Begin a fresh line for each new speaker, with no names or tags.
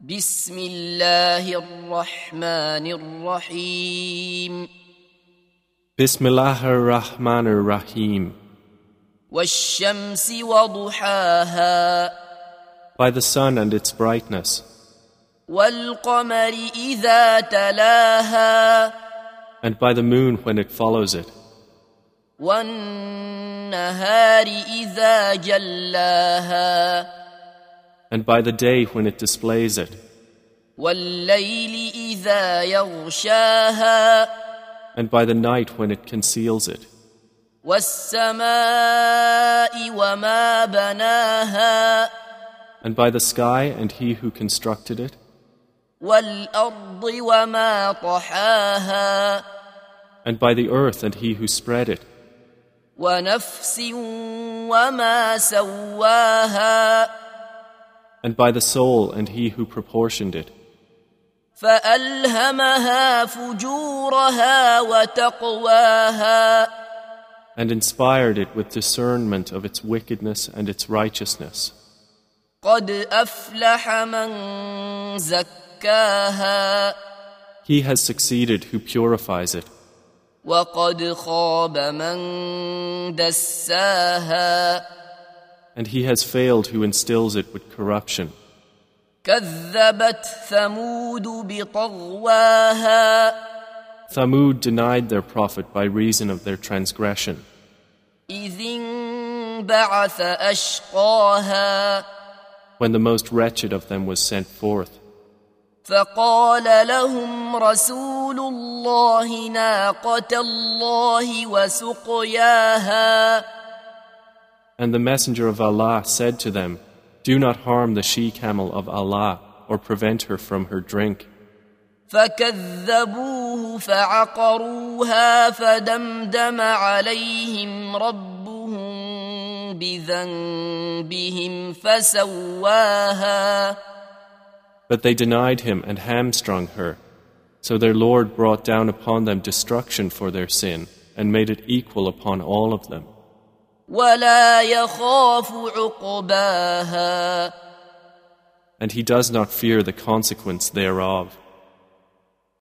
بسم الله الرحمن الرحيم
Bismillahirrahmanirrahim.
والشمس وضحاها
By the sun and its brightness,
والقمر إذا تلاها
and by the moon when it follows it,
والنهار إذا جلاها
and by the day when it displays it,
والليل إذا يغشاها
and by the night when it conceals it,
والسماء وما بناها
and by the sky and he who constructed it,
والأرض وما طحاها
and by the earth and he who spread it,
ونفس وما سواها
and by the soul and he who proportioned it.
فألهمها فجورها وتقواها
and inspired it with discernment of its wickedness and its righteousness.
قد أفلح من زكاها
He has succeeded who purifies it,
وقد خاب من دساها
and he has failed who instills it with corruption.
كذبت ثمود بطغواها
Thamud denied their prophet by reason of their transgression,
إذ انبعث أشقاها
when the most wretched of them was sent forth.
فقال لهم رسول الله ناقة الله وسقياها
And the messenger of Allah said to them, Do not harm the she camel of Allah, or prevent her from her drink.
فكذبوه فعقروها فدمدم عليهم ربهم بذنبهم فسواها
But they denied him and hamstrung her. So their Lord brought down upon them destruction for their sin, and made it equal upon all of them.
ولا يخاف عقباها
And he does not fear the consequence thereof.